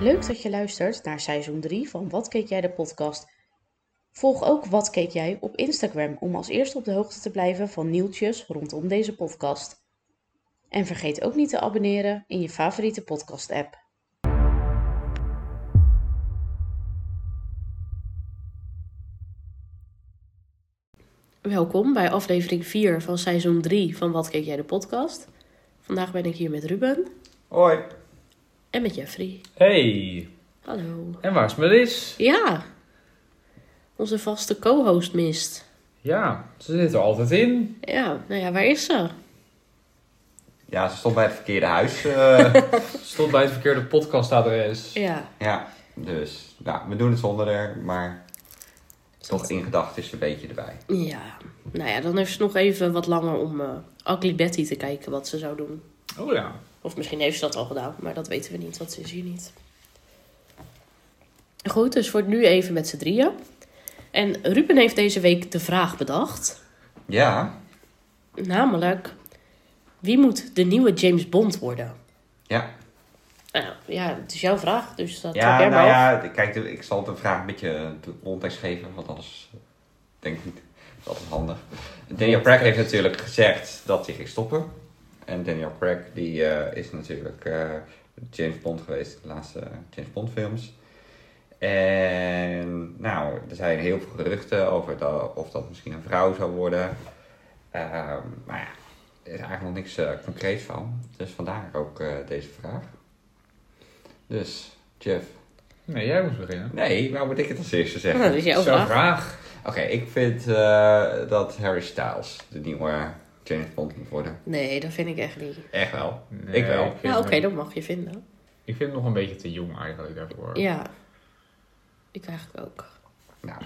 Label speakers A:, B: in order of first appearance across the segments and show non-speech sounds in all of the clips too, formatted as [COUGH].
A: Leuk dat je luistert naar seizoen 3 van Wat Keek Jij de podcast. Volg ook Wat Keek Jij op Instagram om als eerste op de hoogte te blijven van nieuwtjes rondom deze podcast. En vergeet ook niet te abonneren in je favoriete podcast app. Welkom bij aflevering 4 van seizoen 3 van Wat Keek Jij de podcast. Vandaag ben ik hier met Ruben
B: Hoi.
A: en met Jeffrey.
B: Hey,
A: Hallo.
B: en waar is Melis?
A: Ja, onze vaste co-host mist.
B: Ja, ze zit er altijd in.
A: Ja, nou ja, waar is ze?
C: Ja, ze stond bij het verkeerde huis. eh,
B: Stond bij het verkeerde podcastadres.
A: Ja,
C: ja, dus ja, we doen het zonder haar, maar toch in gedachten is ze een beetje erbij.
A: ja. Nou ja, dan heeft ze nog even wat langer om eh Ugly Betty te kijken wat ze zou doen.
B: Oh ja.
A: Of misschien heeft ze dat al gedaan, maar dat weten we niet, want ze is hier niet. Goed, dus voor nu even met z'n drieën. En Ruben heeft deze week de vraag bedacht.
C: Ja,
A: Namelijk, wie moet de nieuwe James Bond worden?
C: ja.
A: Nou ja, het is jouw vraag, dus dat trek
C: Ja,
A: jij
C: nou
A: maar af.
C: ja, kijk, ik zal de vraag een beetje eh, de context geven, want anders eh, denk ik niet. Dat is altijd handig. Daniel Craig heeft natuurlijk gezegd dat hij ging stoppen. En Daniel Craig, die eh, is natuurlijk eh, James Bond geweest, de laatste eh, James Bond films. En nou, er zijn heel veel geruchten over dat, of dat misschien een vrouw zou worden. Ehm, maar ja, er is eigenlijk nog niks eh, concreets van. Dus vandaar ook eh, deze vraag. Dus, Jeff.
B: Nee, jij moet beginnen.
C: Nee, waar moet ik het als eerste
A: Nou,
C: zeggen?
A: dat is jouw
B: Zo
A: vraag.
B: graag.
C: Oké, ik vind eh, dat Harry Styles de nieuwe James Bond moet worden.
A: Nee, dat vind ik echt niet.
C: Echt wel.
B: Nee,
C: Ik wel.
B: vind
A: Nou, oké,
B: hem-
A: dat mag je vinden.
B: Ik vind hem nog een beetje te jong eigenlijk daarvoor.
A: Ja, ik eigenlijk ook.
C: Nou,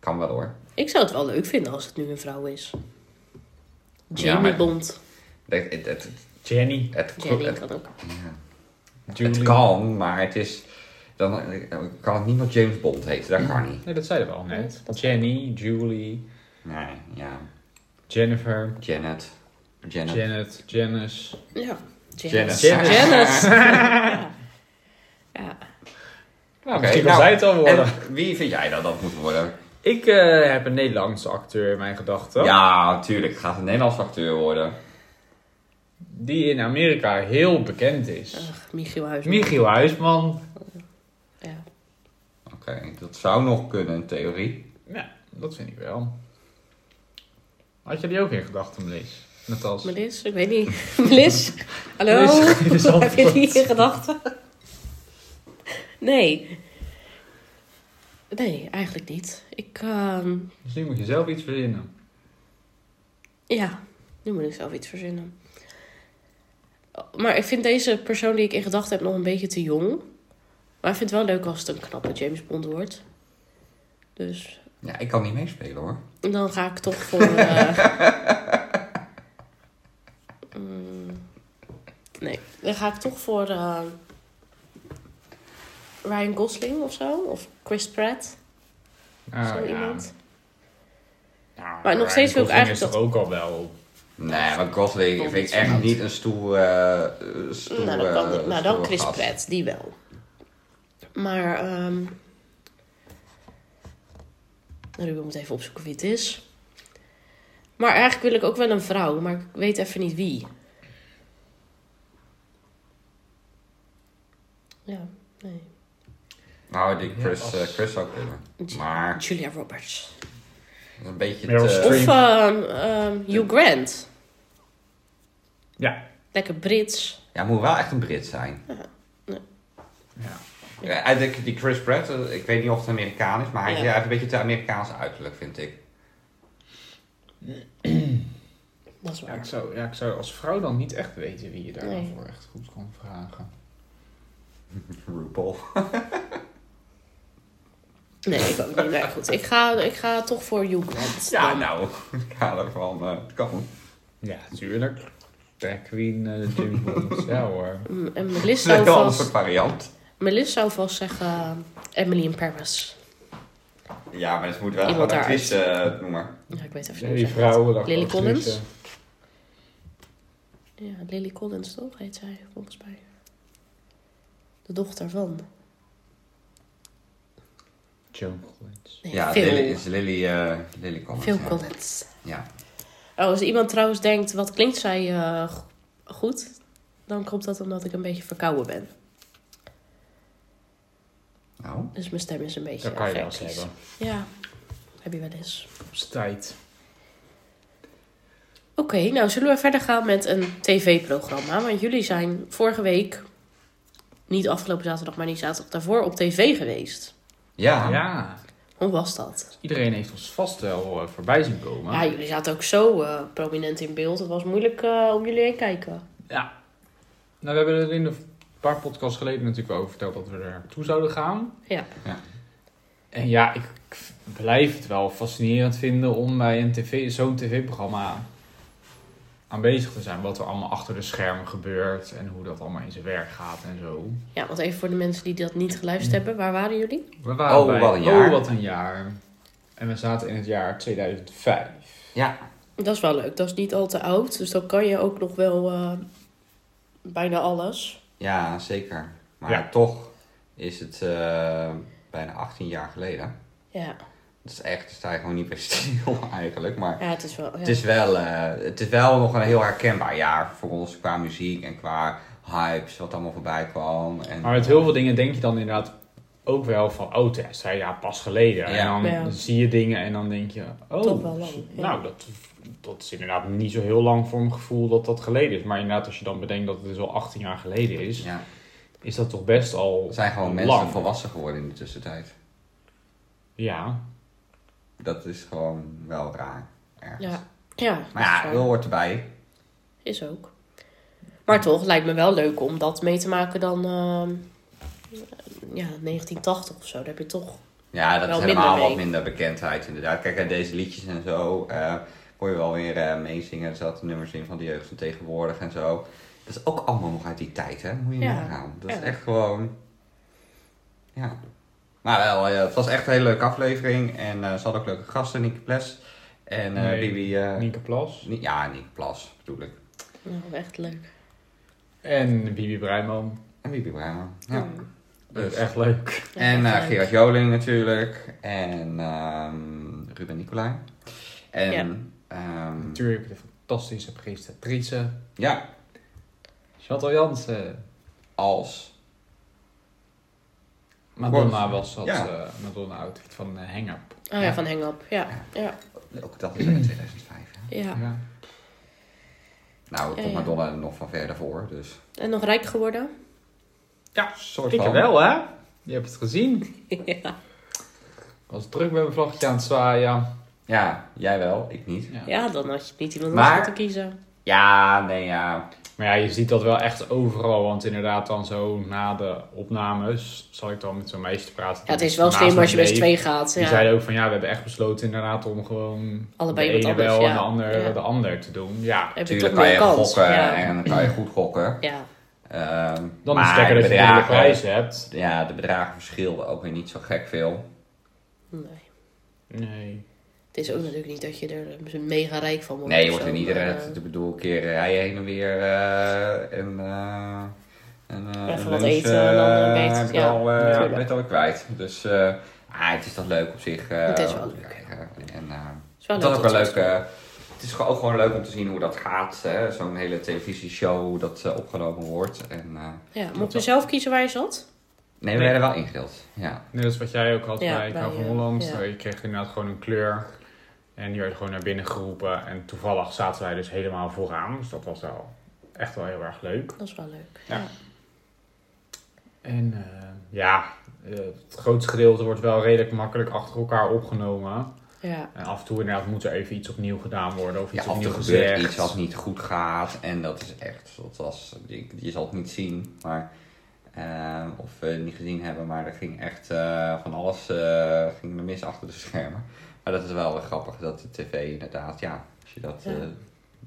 C: kan wel hoor.
A: Ik zou het wel leuk vinden als het nu een vrouw is. Jamie
C: Ja, maar-
A: Bond.
C: Het, het, het,
B: Jenny.
C: het,
A: Jamie
C: het-
A: kan ook.
B: Julie.
C: het kan, maar het is... Dan eh, kan het niet meer James Bond heten. Dat kan niet.
B: Nee, dat zeiden we al net. Jenny, Julie,
C: Nee, ja.
B: Jennifer,
C: Janet. Janet.
B: Janet, Janice.
A: Ja,
C: Janet.
A: Janice. Janice. ja. ja.
B: Nou,
C: Oké,
B: misschien kan
C: nou,
B: zij het al worden.
C: En wie vind jij dat dat moet worden?
B: Ik eh, heb een Nederlandse acteur in mijn gedachten.
C: Ja, natuurlijk. Gaat een Nederlands acteur worden.
B: Die in Amerika heel bekend is.
A: Ach, Michiel Huisman.
B: Michiel Huisman.
A: Ja.
C: Oké, dat zou nog kunnen in theorie.
B: Ja, dat vind ik wel. Had je die ook in gedachten, Melis? Net als...
A: Melis, ik weet niet. [LAUGHS] Melis, hallo?
B: Melis, dit
A: [LAUGHS]
B: is
A: Heb je die
B: antwoord.
A: in gedachten? Nee. Nee, eigenlijk niet. Ik, ehm,
B: Dus nu moet je zelf iets verzinnen.
A: Ja, nu moet ik zelf iets verzinnen. Maar ik vind deze persoon die ik in gedachten heb nog een beetje te jong. Maar ik vind het wel leuk als het een knappe James Bond wordt. Dus
C: Ja, ik kan niet meespelen hoor.
A: dan ga ik toch voor. eh, mm, nee, dan ga ik toch voor. eh, Ryan Gosling of zo. Of Chris Pratt.
B: Ah,
A: zo
B: ja.
A: iemand.
B: Nou,
A: Maar nog
B: Ryan
A: steeds wil ik
B: Gosling
A: eigenlijk
B: is toch
A: dat-
B: ook al wel...
C: Nee, maar Gosling
A: Bond
C: vind ik
A: is fout.
C: echt niet een stoel. eh, eh, stoel
A: nou, dan, kan,
C: eh,
A: nou, dan
C: stoel
A: Chris
C: gast.
A: Pratt, die wel. Maar, ehm Ruben moet even opzoeken wie het is. Maar eigenlijk wil ik ook wel een vrouw, maar ik weet even niet wie. Ja, nee.
C: Nou, die Chris,
B: als-
C: eh, Chris zou kunnen. Maar dat
A: Julia Roberts.
C: is een beetje
B: Meryl
C: te...
B: Streep.
A: Of ehm, ehm, Hugh Grant.
B: Ja.
A: Lekker Brits.
C: Ja, moet wel echt een Brit zijn.
B: ja.
C: Ja, en die- die Chris Pratt, eh, ik weet niet of het Amerikaan is, maar hij
A: Ja.
C: hij heeft een beetje te Amerikaans uiterlijk, vind ik.
A: Dat is
B: Ja, ik
A: waar.
B: zou, ja, ik zou als vrouw dan niet echt weten wie je daar
A: Nee.
B: voor echt goed kon vragen.
C: [LAUGHS] RuPaul.
A: Nee, ik ook niet. Nee, goed. Ik ga, ik ga toch voor Hugh Grant.
C: Ja,
A: dan.
C: nou, ik ga ervan. eh, het kan.
B: Ja, tuurlijk. Drag Queen, eh, James Bond. ja
A: [LAUGHS]
B: hoor.
A: Mm, En
C: Het is
A: Melissa
C: een heel ander
A: vast...
C: soort variant.
A: Melis zou vast zeggen eh, Emily in Paris.
C: Ja, maar het moet wel
A: Iemand
C: een
A: daaruit.
C: actrice eh, noemen.
A: Ja, ik weet even
B: Nee,
A: niet hoe
B: die
A: zij heet.
B: vrouwen. dat
A: Lily
B: actrice.
A: Collins? Ja, Lily Collins toch heet zij volgens mij. De dochter van.
B: Joan Collins.
A: Nee,
C: Ja,
A: Phil.
C: Lily, is Lily, eh Lily Collins.
A: Phil
C: ja.
A: Collins.
C: Ja.
A: Oh, als iemand trouwens denkt, wat klinkt zij eh, go- goed? Dan komt dat omdat ik een beetje verkouden ben.
C: Nou,
A: Dus mijn stem is een beetje
B: Dat kan je wel eens
A: allergisch.
B: hebben.
A: Ja, heb je wel eens.
B: Op z'n tijd.
A: Oké, nou zullen we verder gaan met een tv-programma. Want jullie zijn vorige week, niet afgelopen zaterdag, maar die zaterdag daarvoor, op tv geweest.
B: Ah.
C: ja.
B: Ja,
A: Hoe was dat?
B: iedereen heeft ons vast wel eh, voorbij zien komen.
A: Ja, jullie zaten ook zo eh, prominent in beeld. Het was moeilijk eh, om jullie heen kijken.
B: Ja. Nou, we hebben er in een paar podcasts geleden natuurlijk wel over verteld dat we er toe zouden gaan.
A: Ja.
C: Ja.
B: En ja, ik, ik blijf het wel fascinerend vinden om bij een tv, zo'n tv-programma aanwezig te zijn. Wat er allemaal achter de schermen gebeurt en hoe dat allemaal in zijn werk gaat en zo.
A: Ja, want even voor de mensen die dat niet geluisterd hebben, waar waren jullie?
B: We waren
C: Oh,
B: bij,
C: wat een jaar.
B: Oh, wat een jaar. En we zaten in het jaar 2005.
C: Ja.
A: Dat is wel leuk. Dat is niet al te oud, dus dan kan je ook nog wel eh, bijna alles.
C: Ja, zeker. Maar
B: Ja.
C: toch is het eh, bijna 18 jaar geleden.
A: Ja,
C: Dat is echt, daar sta je gewoon niet bij [LAUGHS] stil eigenlijk. Maar
A: ja het is wel... Ja.
C: het is, wel, eh, het is wel nog een heel herkenbaar jaar voor ons qua muziek en qua hypes, wat allemaal voorbij kwam. En,
B: Maar met heel veel dingen denk je dan inderdaad ook wel van, oh, het is ja, pas geleden.
C: Ja.
B: En dan
A: Ja.
B: zie je dingen en dan denk je, oh,
A: Toch wel lang, ja.
B: nou, dat, dat is inderdaad niet zo heel lang voor mijn gevoel dat dat geleden is. Maar inderdaad, als je dan bedenkt dat het dus al 18 jaar geleden is,
C: Ja,
B: is dat toch best al
C: we zijn gewoon
B: lang.
C: mensen volwassen geworden in de tussentijd.
B: Ja,
C: Dat is gewoon wel raar. Ergens.
A: Ja, ja, dat
C: Maar
A: is
C: ja,
A: waar.
C: wil hoort erbij.
A: Is ook. Maar toch lijkt me wel leuk om dat mee te maken dan ehm, ja, 1980 of zo. Daar heb je toch.
C: Ja, dat
A: Wel
C: is
A: minder
C: helemaal wat
A: mee.
C: minder bekendheid inderdaad. Kijk, en deze liedjes en zo eh, kon je wel weer eh, meezingen. Er zaten nummers in van de jeugd van tegenwoordig en zo. Dat is ook allemaal nog uit die tijd, hè? Moet je
A: Ja.
C: nagaan. Dat
A: Ja.
C: is echt gewoon... Ja. Maar wel, ja, het was echt een hele leuke aflevering. En eh ze hadden ook leuke gasten, Nieke Ples. En eh,
B: Nee,
C: Bibi... eh,
B: Nienke Plas.
C: Ni- ja, Nieke Plas bedoel ik.
A: Nou, echt leuk.
B: En Bibi Breiman.
C: En Bibi Brahma. Ja.
A: Hmm.
B: Dat is
C: Dus-
B: echt leuk.
A: Ja,
C: En
A: echt
C: eh
A: leuk.
C: Gerard Joling natuurlijk. En ehm, Ruben Nicolai. En...
A: Ja.
C: ehm,
B: Natuurlijk de fantastische presentatrice.
C: Ja,
B: Chantal Jansen.
C: als.
B: Madonna was dat,
C: Ja.
B: eh, Madonna outfit van eh, Hang Up.
A: Oh ja,
C: Ja.
A: van Hengap. Ja, ja,
C: Ook dat is
B: [CLEARS THROAT]
C: uit 2005. Hè?
A: ja.
B: Ja.
C: Nou,
A: Ja,
C: komt
A: ja.
C: Madonna er nog van verder voor, dus.
A: En nog rijk geworden?
B: Ja,
C: soort
B: Ik
C: van.
B: wel, hè? Je hebt het gezien.
A: [LAUGHS] ja.
B: Was druk met mijn vlaggetje aan het zwaaien.
C: Ja, jij wel, ik niet.
B: Ja.
A: ja, dan had je niet iemand anders
C: Maar-
A: moeten kiezen.
C: Ja, nee, ja.
B: Maar ja, je ziet dat wel echt overal. Want inderdaad, dan zo na de opnames zal ik dan met zo'n meisje praten.
A: Ja, het is wel slim als je met z'n twee gaat.
B: Die
A: Ja.
B: zeiden ook van ja, we hebben echt besloten inderdaad om gewoon
A: Allebei
B: de ene
A: wat anders,
B: wel
A: ja.
B: en de ander,
A: Ja.
B: de ander te doen. Ja,
A: Heb je toch
C: Tuurlijk kan
A: meer
C: je
A: kans.
C: gokken
A: ja.
C: en dan kan je goed gokken.
A: ja,
C: Ehm,
B: dan is
C: maar
B: het lekker dat je een hele
C: bedragen-
B: prijs hebt.
C: Ja, de bedragen verschilden ook weer niet zo gek veel.
A: nee.
B: Nee.
A: Het is ook natuurlijk niet dat je er mega rijk van wordt.
C: Nee, je
A: of
C: wordt
A: zo,
C: in iedere,
A: maar, eh,
C: ik bedoel, een keer rijden heen en weer eh, en... eh en, eh,
A: Even
C: een
A: wat
C: lunch,
A: eten en dan,
C: eh,
A: eh, beter,
C: heb ik
A: ja.
C: al, eh,
B: Natuurlijk.
C: ben ik alweer kwijt. Dus eh, ah, het is toch leuk op zich. eh,
A: Het is wel
C: om te
A: leuk.
C: kijken. En, eh,
A: het is wel
C: dat is ook wel
A: dat
C: leuk. eh, het is gewoon- ook gewoon leuk om te zien hoe dat gaat. hè. Zo'n hele televisieshow, hoe dat eh, opgenomen wordt. En, eh,
A: Ja, mocht je zelf kiezen waar je zat?
C: nee, we werden wel ingedeeld. Ja.
B: Net als wat jij ook had
A: Ja,
B: bij
A: bij,
B: Kou van
A: eh,
B: Holland.
A: ja.
B: Je kreeg inderdaad gewoon een kleur. En die werd gewoon naar binnen geroepen. En toevallig zaten wij dus helemaal vooraan. Dus dat was wel echt wel heel erg leuk.
A: Dat is wel leuk.
B: Ja.
A: Ja.
B: En eh, ja, eh, het grootste gedeelte wordt wel redelijk makkelijk achter elkaar opgenomen.
A: Ja.
B: En af en toe inderdaad moet er even iets opnieuw gedaan worden. Of
C: Ja,
B: iets
C: af en
B: opnieuw
C: toe gebeurt
B: gezegd.
C: iets wat niet goed gaat. En dat is echt, dat was, je, je zal het niet zien, maar, eh, of we het niet gezien hebben, maar er ging echt eh, van alles eh, ging er mis achter de schermen. Maar dat is wel weer grappig, dat de tv inderdaad, ja, als je dat
A: Ja.
C: eh,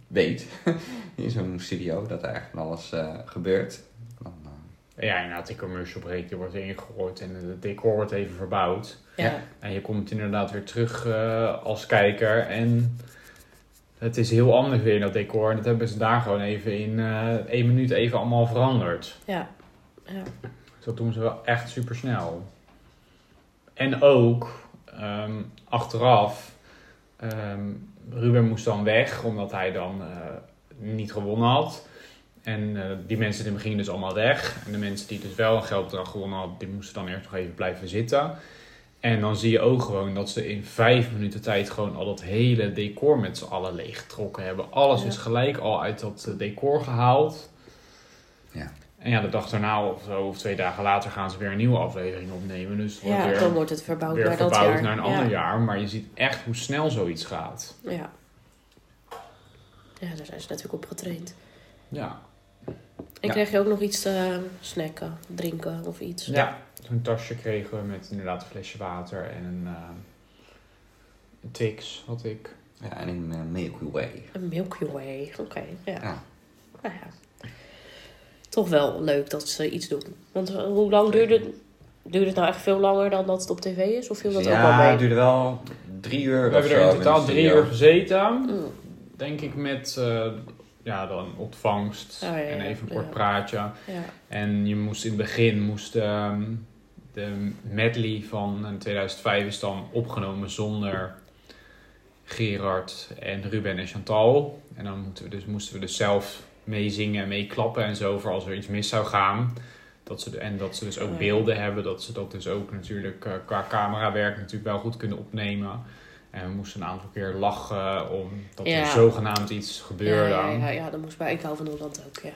C: weet, [LAUGHS] in zo'n studio, dat er echt van alles eh, gebeurt. Dan, eh,
B: Ja, inderdaad, die commercial break die wordt ingegooid. En het decor wordt even verbouwd.
A: Ja.
B: En je komt inderdaad weer terug eh, als kijker. En het is heel anders weer in dat decor. En dat hebben ze daar gewoon even in eh één minuut even allemaal veranderd.
A: Ja. Ja.
B: Dus dat doen ze wel echt super snel. En ook ehm, achteraf, ehm, Ruben moest dan weg omdat hij dan eh, niet gewonnen had. En eh, die mensen die gingen dus allemaal weg. En de mensen die dus wel een geldbedrag gewonnen hadden, die moesten dan eerst nog even blijven zitten. En dan zie je ook gewoon dat ze in vijf minuten tijd gewoon al dat hele decor met z'n allen leeggetrokken hebben. Alles
A: Ja.
B: is gelijk al uit dat eh, decor gehaald.
C: Ja.
B: En ja, de dag daarna of zo, of twee dagen later, gaan ze weer een nieuwe aflevering opnemen. Dus het wordt
A: Ja,
B: weer,
A: dan wordt het verbouwd
B: weer
A: naar dat
B: verbouwd
A: jaar.
B: naar een ander
A: ja.
B: jaar. Maar je ziet echt hoe snel zoiets gaat.
A: Ja. ja, daar zijn ze natuurlijk op getraind.
B: Ja,
A: En
C: Ja.
A: kreeg je ook nog iets te snacken, drinken of iets?
B: ja. zo'n tasje kregen we met inderdaad een flesje water en een, eh, een Twix had ik.
C: Ja, en in eh, Milky Way.
A: Een Milky Way, oké. ja.
C: Ja.
A: Nou ja. Toch wel leuk dat ze iets doen. Want eh, hoe lang duurde, duurde het nou echt veel langer dan dat het op tv is? Of viel dat ook wel
C: ja,
A: mee?
C: het duurde wel drie uur
B: We
C: of
B: hebben
C: zo
B: er in
C: de
B: totaal drie
C: studio.
B: uur gezeten.
A: Mm.
B: Denk ik met eh, ja, dan ontvangst
A: Oh, ja, ja,
B: en even een kort
A: ja.
B: praatje.
A: Ja.
B: En je moest in het begin moest, ehm, de medley van eh, 2005 is dan opgenomen zonder Gerard en Ruben en Chantal. En dan moeten we dus, moesten we dus zelf meezingen en meeklappen en zo voor als er iets mis zou gaan. Dat ze de- en dat ze dus
A: Oh, ja.
B: ook beelden hebben, dat ze dat dus ook natuurlijk eh, qua camerawerk natuurlijk wel goed kunnen opnemen. En we moesten een aantal keer lachen omdat
A: Ja.
B: er zogenaamd iets
A: Ja,
B: gebeurde.
A: ja, ja, ja, dat moest bij Ik hou van Holland ook, ja.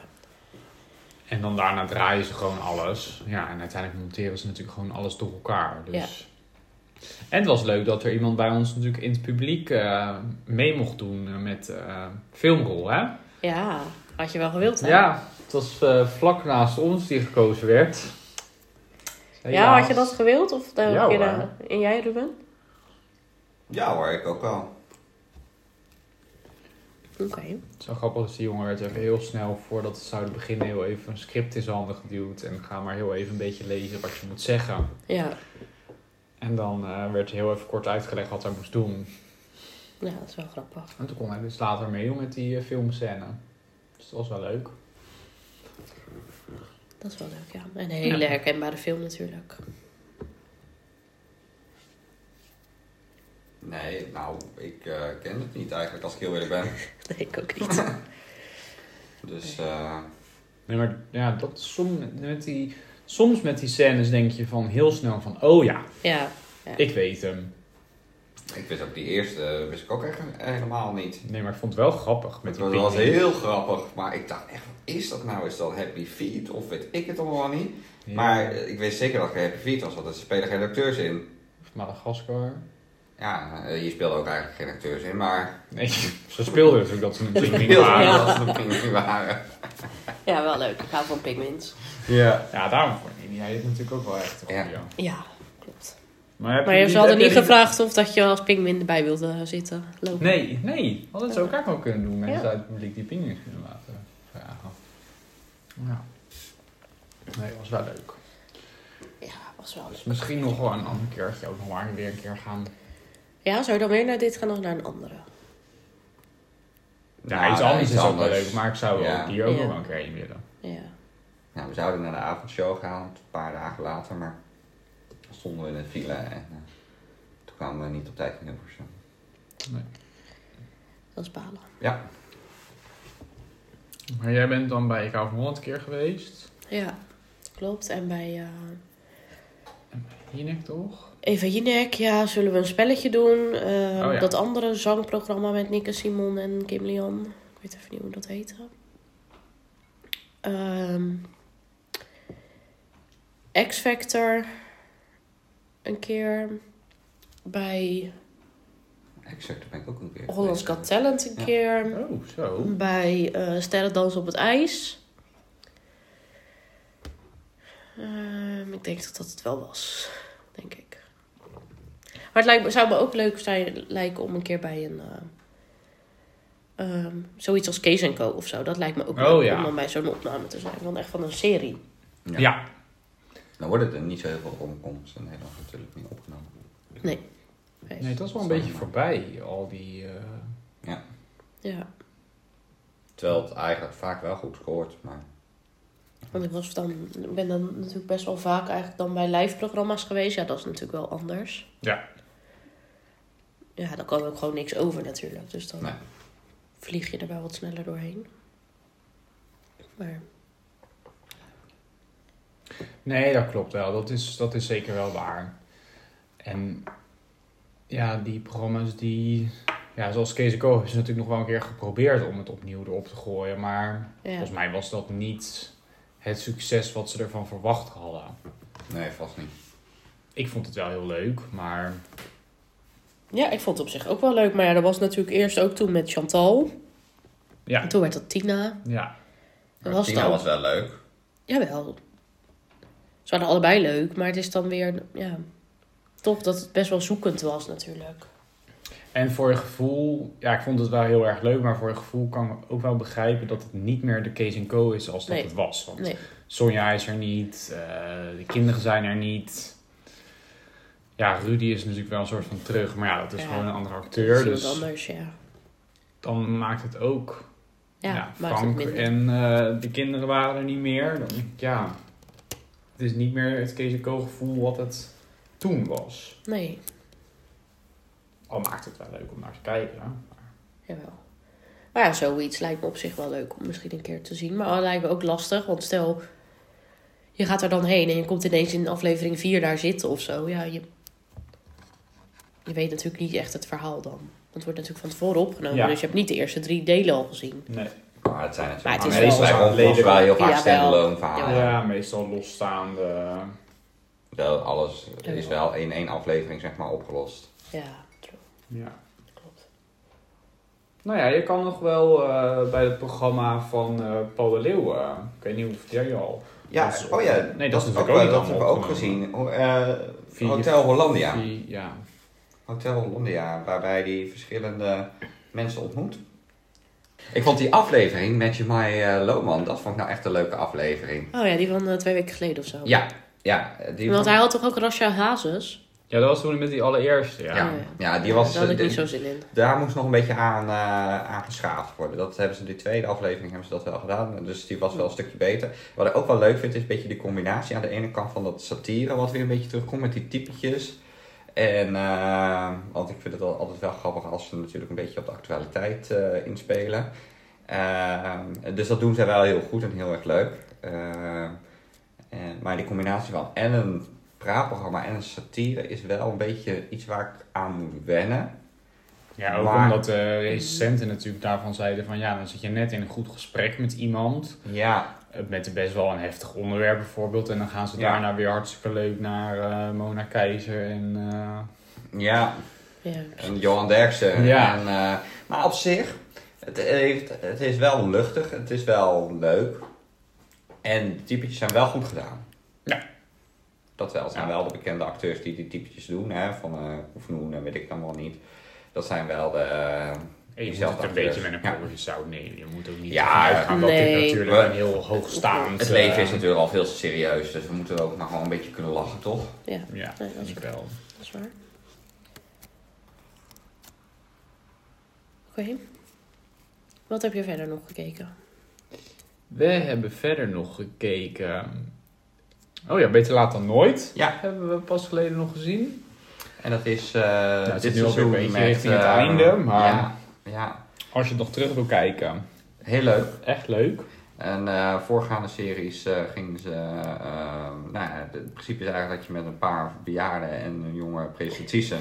B: En dan daarna draaien ze gewoon alles. Ja, en uiteindelijk monteren ze natuurlijk gewoon alles door elkaar. Dus. En het was leuk dat er iemand bij ons natuurlijk in het publiek eh, mee mocht doen eh, met eh, filmrol, hè?
A: Ja, had je wel gewild, hè?
B: Ja, het was eh, vlak naast ons die gekozen werd.
A: Ja, had je dat gewild? Of eh, de,
B: Ja,
A: in,
B: hoor.
A: en jij, Ruben?
C: Ja hoor, ik ook wel.
A: Oké.
B: Zo grappig is die jongen werd even heel snel voordat ze zouden beginnen heel even een script in zijn handen geduwd. En ga maar heel even een beetje lezen wat je moet zeggen.
A: Ja.
B: En dan eh, werd heel even kort uitgelegd wat hij moest doen.
A: ja, dat is wel grappig.
B: En toen kon hij dus later meedoen met die eh, filmscène. Dus dat was wel leuk.
A: Dat is wel leuk, ja. En een hele
B: Ja.
A: herkenbare film natuurlijk.
C: Nee, nou, ik eh, ken het niet eigenlijk als ik heel eerlijk ben.
A: [LAUGHS] Nee, ik ook niet.
C: Dus eh,
B: Nee, maar ja, dat is som, met die, soms met die scènes denk je van heel snel van... Oh ja,
A: [LAUGHS] ja. Ja.
B: ik weet hem.
C: ik wist ook die eerste eh, wist ik ook echt helemaal niet.
B: Nee, maar ik vond het wel grappig met
C: Het
B: die
C: was wel
B: picknick.
C: heel grappig, maar ik dacht echt, wat is dat nou? Is dat Happy Feet of weet ik het allemaal niet?
B: Ja.
C: Maar eh, ik wist zeker dat het Happy Feet was, want er spelen geen acteurs in.
B: Of Madagaskar.
C: Ja, eh, hier speelden ook eigenlijk geen acteurs in,
B: [LAUGHS]
C: maar...
B: Nee, ze speelden natuurlijk dat ze een picknick
C: Heel
B: waren.
A: Ja.
B: Ja.
C: dat ze nog niet waren.
A: ja, wel leuk. Ik hou van pigments.
C: Ja.
B: daarom vond ik jij het natuurlijk ook wel echt.
C: Ja.
B: Ja.
A: Ja, klopt.
B: Maar, heb
A: Maar je ze
B: die-
A: hadden
B: heb je
A: niet
B: die-
A: gevraagd of dat je als pingwin erbij wilde zitten lopen.
B: Nee, nee. Hadden ze ook echt wel kunnen doen. Mensen
A: Ja.
B: uit het publiek die pingers kunnen laten vragen. Ja. Nee, dat was wel leuk.
A: Ja, was wel leuk.
B: Dus Misschien nog wel een andere keer, dat je ook nog maar weer een keer gaan.
A: Ja, zou je dan weer naar dit gaan of naar een andere?
B: Ja,
C: Nou,
B: iets
C: ja,
B: anders
C: iets
B: is ook wel
C: anders.
B: leuk, maar ik zou wel
C: Ja.
B: hier ook
A: Ja.
B: nog wel een keer heen willen.
A: Ja.
C: Nou, we zouden naar de avondshow gaan, een paar dagen later, maar toen stonden we in de file en eh, toen kwamen we niet op tijd in Hilversum.
A: Dat is balen.
C: Ja,
B: Maar jij bent dan bij Ik hou van Holland een keer geweest.
A: Ja, klopt. En bij eh
B: Jinek toch?
A: Eva Jinek, ja, zullen we een spelletje doen? Eh,
B: Oh ja.
A: Dat andere zangprogramma met Nick en Simon en Kim Lian. Ik weet even niet hoe dat heette. Ehm, X Factor. Een keer. Bij
C: exact, daar ben ik ook een keer
A: Hollands
C: geweest.
A: Got Talent een
C: Ja.
A: keer.
B: Oh, zo.
A: Bij eh Sterrendans op het IJs. Ehm, ik denk dat dat het wel was. Denk ik. Maar het lijkt, me- zou me ook leuk zijn, lijken om een keer bij een... eh, ehm, zoiets als Kees Co. of zo. Dat lijkt me ook
B: Oh,
A: leuk
B: ja.
A: om dan bij zo'n opname te zijn. Want echt van een serie.
B: Ja.
C: Ja. Dan worden er niet zo heel veel omkomsten in Nederland natuurlijk niet opgenomen.
B: Nee, het was wel een beetje voorbij, al die. eh,
A: Ja.
C: Terwijl het eigenlijk vaak wel goed scoort, maar...
A: Want ik was dan, ik ben dan natuurlijk best wel vaak eigenlijk dan bij live programma's geweest. Ja, dat is natuurlijk wel anders.
B: Ja.
A: Ja, dan kan ook gewoon niks over natuurlijk. Dus dan
C: Nee.
A: vlieg je er wel wat sneller doorheen. Maar
B: Nee, dat klopt wel. Dat is, dat is zeker wel waar. En ja, die programma's die... Ja, zoals Kees en Co hebben ze natuurlijk nog wel een keer geprobeerd om het opnieuw erop te gooien. Maar
A: ja,
B: volgens mij was dat niet het succes wat ze ervan verwacht hadden.
C: Nee, vast niet.
B: Ik vond het wel heel leuk, maar...
A: ja ik vond het op zich ook wel leuk. Maar ja, dat was natuurlijk eerst ook toen met Chantal.
B: Ja,
A: En toen werd dat Tina.
B: ja.
A: Dat
C: Maar
A: was
C: Tina
A: dan.
C: was wel leuk.
A: Jawel. Ze waren allebei leuk, maar het is dan weer, ja, toch dat het best wel zoekend was natuurlijk.
B: En voor je gevoel... Ja, ik vond het wel heel erg leuk, maar voor je gevoel kan ik ook wel begrijpen... dat het niet meer de Kees Co is als dat
A: Nee.
B: het was. Want
A: Nee.
B: Sonja is er niet, eh, de kinderen zijn er niet. Ja, Rudy is natuurlijk wel een soort van terug, maar ja, dat is
A: Ja.
B: gewoon een andere
A: Dat
B: acteur.
A: is iemand
B: Dus
A: anders, ja.
B: dan maakt het ook.
A: Ja,
B: ja,
A: maakt het
B: Frank
A: minder.
B: en eh, de kinderen waren er niet meer. Dan, ja, het is niet meer het Kees en Co gevoel wat het toen was.
A: Nee,
B: Al maakt het wel leuk om naar te kijken. maar-
A: jawel. Maar ja, zoiets lijkt me op zich wel leuk om misschien een keer te zien. Maar het lijkt me ook lastig, want stel, je gaat er dan heen en je komt ineens in aflevering 4 daar zitten of zo. Ja, je, je weet natuurlijk niet echt het verhaal dan. Want het wordt natuurlijk van tevoren opgenomen,
B: Ja.
A: dus je hebt niet de eerste drie delen al gezien.
B: Nee.
C: Maar het zijn natuurlijk
A: Maar het is
C: maar meestal
B: wel-
C: zijn wel, wel heel vaak
A: Jawel.
C: standalone verhalen.
A: Ja.
B: Ja, meestal losstaande.
C: Wel, Alles is
A: Jawel.
C: wel in één aflevering zeg maar opgelost.
A: Ja, true.
B: Ja.
A: klopt.
B: Nou ja, je kan nog wel eh, bij het programma van eh, Paul de Leeuw. eh, ik weet niet of jij al.
C: Ja,
B: Dat is-
C: oh ja,
B: nee, dat is
C: ook,
B: natuurlijk
C: wel-
B: ook niet
C: dat hebben we ook
B: allemaal
C: gezien. Ho- eh,
B: Vier-
C: Hotel Hollandia.
B: Die, ja.
C: Hotel Hollandia, waarbij die verschillende mensen ontmoet. Ik vond die aflevering met Jemai eh, Lohman, dat vond ik nou echt een leuke aflevering.
A: Oh ja, die van eh, twee weken geleden of zo.
C: Ja, ja. Die
A: Want
C: vond-
A: hij had toch ook Rasha Hazes?
B: ja, dat was toen met die allereerste. Ja.
C: Ja,
A: Oh,
C: ja, die was... eh, dus-
A: Daar had ik
C: de-
A: niet zo zin in.
C: Daar moest nog een beetje aan, eh aan geschaafd worden. Dat hebben ze in de tweede aflevering hebben ze dat wel gedaan. Dus die was wel een stukje beter. Wat ik ook wel leuk vind is een beetje die combinatie aan de ene kant van dat satire wat weer een beetje terugkomt met die typetjes. En, eh, want ik vind het al- altijd wel grappig als ze natuurlijk een beetje op de actualiteit eh, inspelen. Eh, dus dat doen zij wel heel goed en heel erg leuk. Eh, en, maar die combinatie van en een praatprogramma en een satire is wel een beetje iets waar ik aan moet wennen.
B: Ja, ook
C: Maar-
B: omdat eh, de recensenten natuurlijk daarvan zeiden van ja, dan zit je net in een goed gesprek met iemand.
C: Ja,
B: eh, Met best wel een heftig onderwerp bijvoorbeeld. En dan gaan ze
C: Ja.
B: daarna weer hartstikke leuk naar eh, Mona Keizer en... eh,
C: Ja,
A: Ja.
C: en Johan Derksen.
B: Ja.
C: En, eh, maar op zich, het, heeft, het is wel luchtig, het is wel leuk. En de typetjes zijn wel goed gedaan.
B: Ja.
C: Dat wel. Het zijn
B: Ja.
C: wel de bekende acteurs die die typetjes doen, hè, van eh Koefnoen en weet ik allemaal niet. Dat zijn wel de... eh,
B: je moet
C: Jezelf
B: het een
C: acteur.
B: beetje met een
C: Ja.
B: korreltje zout nemen. Je moet ook niet
C: Ja,
B: ervan uitgaan dat dit
A: nee.
B: natuurlijk een heel hoogstaand...
C: het leven
B: eh,
C: is natuurlijk al veel te serieus, dus we moeten ook nog wel een beetje kunnen lachen, toch?
A: ja,
B: Ja,
A: Nee, dat
B: dat
A: is
B: ik wel.
A: dat is waar. Oké. Wat heb je verder nog gekeken?
B: We hebben verder nog gekeken. Oh ja, beter laat dan nooit.
C: Ja.
B: Hebben we pas geleden nog gezien.
C: En dat is... eh
B: Nou, het
C: dit
B: zit nu alweer
C: seizoen
B: een beetje
C: met,
B: richting het
C: eh,
B: einde, maar-
C: Ja, ja,
B: Als je het nog terug wil kijken.
C: heel leuk.
B: Echt leuk.
C: En eh, voorgaande series eh, gingen ze. eh, nou, ja, het principe is eigenlijk dat je met een paar bejaarden en een jonge
B: [LAUGHS]
C: presentatrice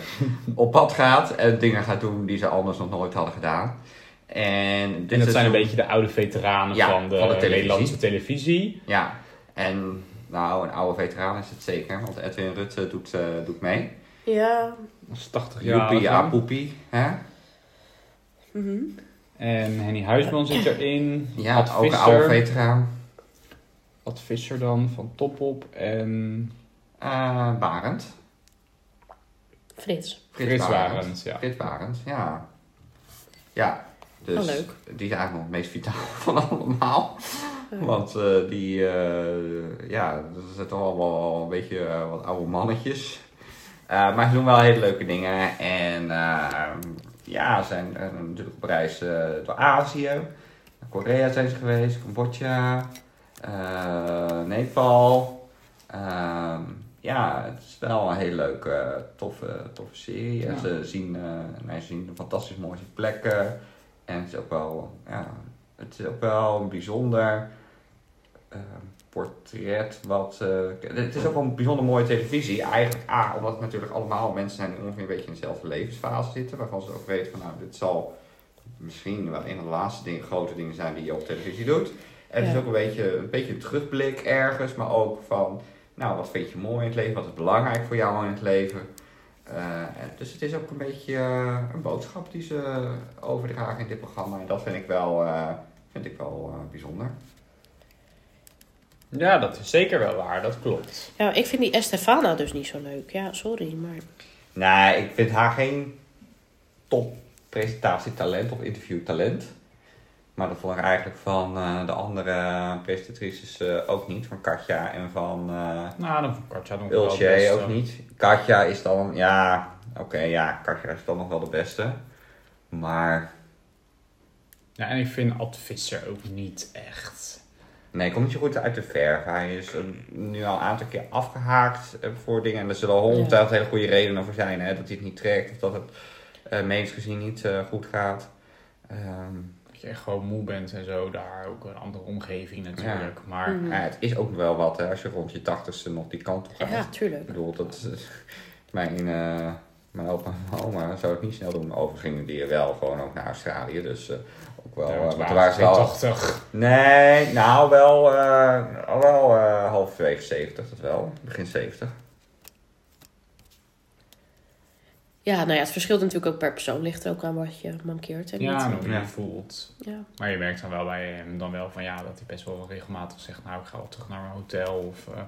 C: op pad gaat en dingen gaat doen die ze anders nog nooit hadden gedaan. En, dit
B: En dat zijn een
C: seizoen-
B: beetje de oude veteranen
C: Ja,
B: van de,
C: van de televisie.
B: Nederlandse televisie.
C: Ja, en nou, een oude veteraan is het zeker, want Edwin Rutte doet, eh, doet mee.
A: Ja.
B: Dat is 80 jaar.
C: Joepie, ja, poepie. Hè?
A: Mhm.
B: En Henny Huisman zit erin.
C: Ja,
B: Ad
C: ook een
B: Visser.
C: oude veteraan.
B: Ad Visser dan van Topop. En
C: Eh Barend.
A: Frits.
B: Frits Warens. Ja.
C: Frits Barend, ja. Ja, dus
A: Oh, leuk.
C: die is eigenlijk nog het meest vitaal [LAUGHS] van allemaal. Want eh, die, eh, ja, er zitten allemaal een beetje eh, wat oude mannetjes. Eh, maar ze doen wel hele leuke dingen. En eh, ja, ze zijn eh, natuurlijk op reis eh, door Azië. Naar Korea zijn ze geweest, Cambodja. Eh, eh, Nepal. Ehm, ja, het is wel een hele leuke, toffe, toffe serie. En
B: Ja.
C: ze, zien, eh, nou, ze zien fantastisch mooie plekken. En het is ook wel, ja, het is ook wel een bijzonder eh, portret. Wat, eh, het is ook wel een bijzonder mooie televisie. Eigenlijk A, omdat het natuurlijk allemaal mensen zijn die ongeveer een beetje in dezelfde levensfase zitten. Waarvan ze ook weten van, nou, dit zal misschien wel een van de laatste dingen, grote dingen zijn die je op televisie doet. En het
A: Ja.
C: is ook een beetje, een beetje een terugblik ergens, maar ook van, nou, wat vind je mooi in het leven? Wat is belangrijk voor jou in het leven? Eh, en dus het is ook een beetje eh, een boodschap die ze overdragen in dit programma. En dat vind ik wel, eh, vind ik wel eh, bijzonder.
B: Ja, dat is zeker wel waar, dat klopt.
A: Ja, ik vind die Estefana dus niet zo leuk. Ja, sorry, maar...
C: Nee, ik vind haar geen top presentatietalent of interviewtalent. Maar dat vond ik eigenlijk van eh, de andere presentatrices eh, ook niet. Van Katja en van eh,
B: Nou, dan vond ik Katja nog wel eh, het
C: Ulsje
B: beste.
C: ook niet. Katja is dan, ja, oké, ja, Katja is dan nog wel de beste. Maar
B: Ja, en ik vind Ad Visser ook niet echt.
C: nee, komt niet zo goed uit de verf. Hij is een- nu al een aantal keer afgehaakt eh, voor dingen. En er zullen al ongetwijfeld hele goede redenen voor zijn. Hè? Dat hij het niet trekt of dat het eh medisch gezien niet eh, goed gaat. Ehm,
B: Dat je echt gewoon moe bent en zo, daar ook een andere omgeving natuurlijk. Maar
A: Mm.
C: ja, het is ook wel wat hè, als je rond je tachtigste nog die kant op gaat.
A: Ja,
C: Ik
A: tuurlijk.
C: bedoel, dat is- eh, mijn, eh, mijn opa en oma zou het niet snel doen. Overigens gingen die wel gewoon ook naar Australië. Dus eh, ook wel.
B: ja,
C: eh,
B: want
C: want
B: we
C: er
B: waren
C: waren ze wel
B: 80.
C: Nee, nou wel, eh, al wel eh halverwege 70, dat wel. Begin 70.
A: Ja, nou ja, het verschilt natuurlijk ook per persoon. Ligt er ook aan wat je mankeert en
B: Ja, en
A: niet.
B: hoe je
C: Ja.
B: je voelt.
A: Ja.
B: Maar je merkt dan wel bij hem dan wel van ja, dat hij best wel regelmatig zegt, nou ik ga wel terug naar mijn hotel of eh,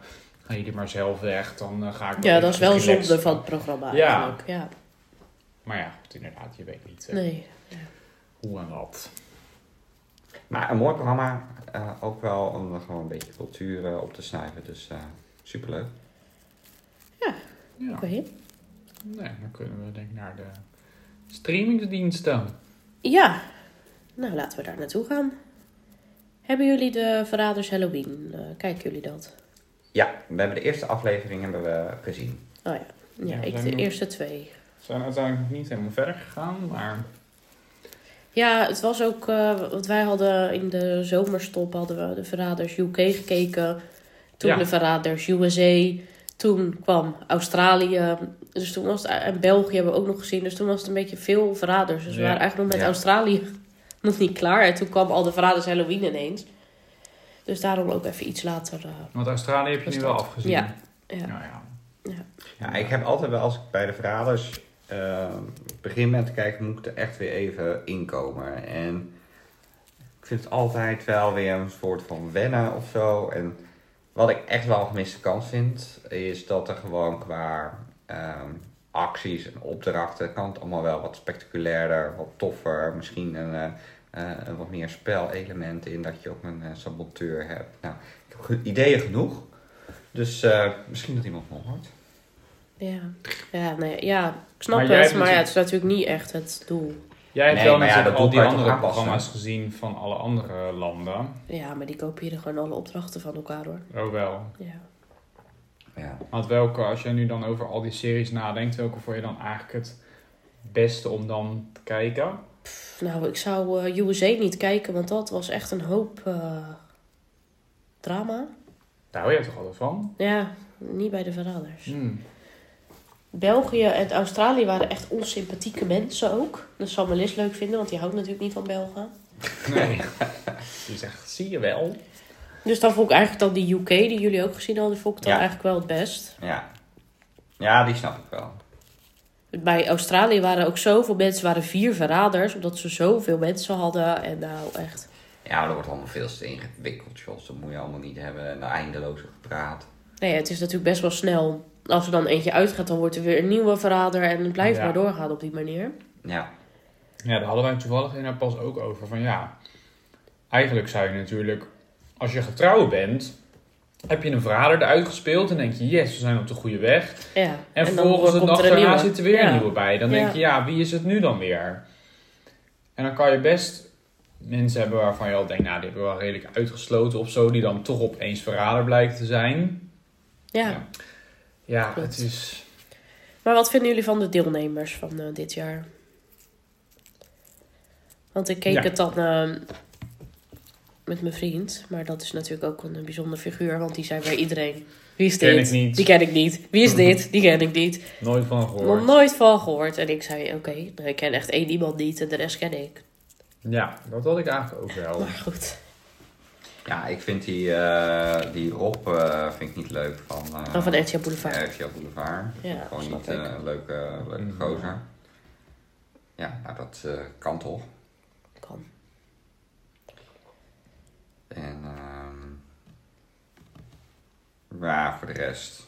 B: ga jullie maar zelf weg, dan eh, ga ik
A: ja, dat is wel
B: relaxed.
A: zonde van het programma
B: Ja.
A: eigenlijk. Ja.
B: Maar ja, goed, inderdaad, je weet niet eh,
A: Nee.
B: hoe en wat.
C: Maar een mooi programma. eh, ook wel om er gewoon een beetje cultuur eh, op te snuiven. Dus eh, superleuk.
B: Ja,
A: Oké.
B: nee, dan kunnen we denk ik naar de streamingsdiensten.
A: Ja. Nou, laten we daar naartoe gaan. Hebben jullie de Verraders Halloween? eh, kijken jullie dat?
C: Ja, we hebben de eerste aflevering hebben we gezien.
A: Oh ja. Ja,
B: Ja, we
A: ik
B: zijn
A: de
B: nog-
A: eerste twee.
B: We zijn uiteindelijk nou, nog niet helemaal verder gegaan, maar
A: Ja, het was ook, eh want wij hadden in de zomerstop hadden we de Verraders UK gekeken. Toen
B: Ja.
A: de Verraders USA. Toen kwam Australië. Dus toen was het, en België hebben we ook nog gezien. Dus toen was het een beetje veel Verraders. Dus we
B: Ja.
A: waren eigenlijk nog met
C: Ja.
A: Australië [LAUGHS] nog niet klaar. En toen kwam al de Verraders Halloween ineens. Dus daarom ook even iets later. eh,
B: want Australië heb je nu wel afgezien.
A: Ja. ja.
B: Nou ja.
C: Ja, ik heb altijd wel, als ik bij de verraders eh, begin ben te kijken, moet ik er echt weer even inkomen. En ik vind het altijd wel weer een soort van wennen of zo. En wat ik echt wel een gemiste kans vind, is dat er gewoon qua ehm, acties en opdrachten kan het allemaal wel wat spectaculairder, wat toffer. Misschien een, eh, eh, een wat meer spelelement in dat je ook een eh, saboteur hebt. Nou, ik heb ge- ideeën genoeg. Dus eh, misschien dat iemand me hoort.
A: Ja. Ja, nee, ja, ik snap
B: Maar
A: het.
B: jij
A: Maar ja, het
B: hebt natuurlijk-
A: is natuurlijk niet echt het doel.
B: Jij hebt
C: Nee,
B: wel
C: maar ja,
B: natuurlijk
C: dat
B: al
C: doet
B: die
C: hij toch
B: andere
C: aanpassen?
B: programma's gezien van alle andere landen.
A: Ja, maar die kopiëren gewoon alle opdrachten van elkaar hoor.
B: Ook wel.
A: Ja.
C: Ja.
B: Want welke, als jij nu dan over al die series nadenkt, welke vond je dan eigenlijk het beste om dan te kijken?
A: Nou, ik zou eh, USA niet kijken, want dat was echt een hoop eh, drama.
B: Daar hou je toch altijd van?
A: Ja, niet bij de verraders.
B: Hmm.
A: België en Australië waren echt onsympathieke mensen ook. Dat zal Melis leuk vinden, want die houdt natuurlijk niet van Belgen.
B: Nee. [LAUGHS] Je zegt, zie je wel.
A: Dus dan vond ik eigenlijk dan die UK, die jullie ook gezien hadden, vond ik dan
C: Ja.
A: eigenlijk wel het best.
C: Ja. ja, die snap ik wel.
A: Bij Australië waren ook zoveel mensen, waren vier verraders, omdat ze zoveel mensen hadden. En nou, echt.
C: Ja, maar dat wordt allemaal veel te ingewikkeld, Jos. Dat moet je allemaal niet hebben. En daar eindeloze gepraat.
A: Nee, het is natuurlijk best wel snel. Als er dan eentje uitgaat, dan wordt er weer een nieuwe verrader en het blijft
B: Ja.
A: maar doorgaan op die manier.
C: Ja,
B: Ja, daar hadden wij toevallig in haar pas ook over. Van ja, eigenlijk zou je natuurlijk, als je getrouwd bent, heb je een verrader eruit gespeeld en denk je, yes, we zijn op de goede weg.
A: Ja.
B: En,
A: dan
B: volgens de
A: komt
B: dag
A: er een
B: daarna
A: nieuwe.
B: zit er weer
A: Ja.
B: een nieuwe bij. Dan
A: Ja.
B: denk je, ja, wie is het nu dan weer? En dan kan je best mensen hebben waarvan je al denkt, nou, die hebben we wel redelijk uitgesloten of zo, die dan toch opeens verrader blijkt te zijn.
A: Ja.
B: Ja. Ja,
A: Klopt.
B: het is.
A: Maar wat vinden jullie van de deelnemers van eh, dit jaar? Want ik keek
B: Ja.
A: het dan eh, met mijn vriend. Maar dat is natuurlijk ook een bijzonder figuur. Want die zei bij iedereen... Wie is dit?
B: Ken ik niet.
A: Die ken ik niet. Wie is dit? Die ken ik niet.
B: Nooit van gehoord.
A: Nog nooit van gehoord. En ik zei, oké, nou, ik ken echt één iemand niet en de rest ken ik.
B: Ja, dat had ik eigenlijk ook wel.
A: Maar goed.
C: Ja, ik vind die, eh, die Rob eh, vind ik niet leuk van... eh,
A: Dan Oh, van RTL Boulevard.
C: Ja, RTL Boulevard.
A: Ja,
C: Gewoon
A: snap
C: niet
A: ik.
C: eh, een leuke, leuke
B: Mm.
C: gozer. Ja, nou dat eh, kan toch.
A: Kan.
C: En ehm ja, voor de rest.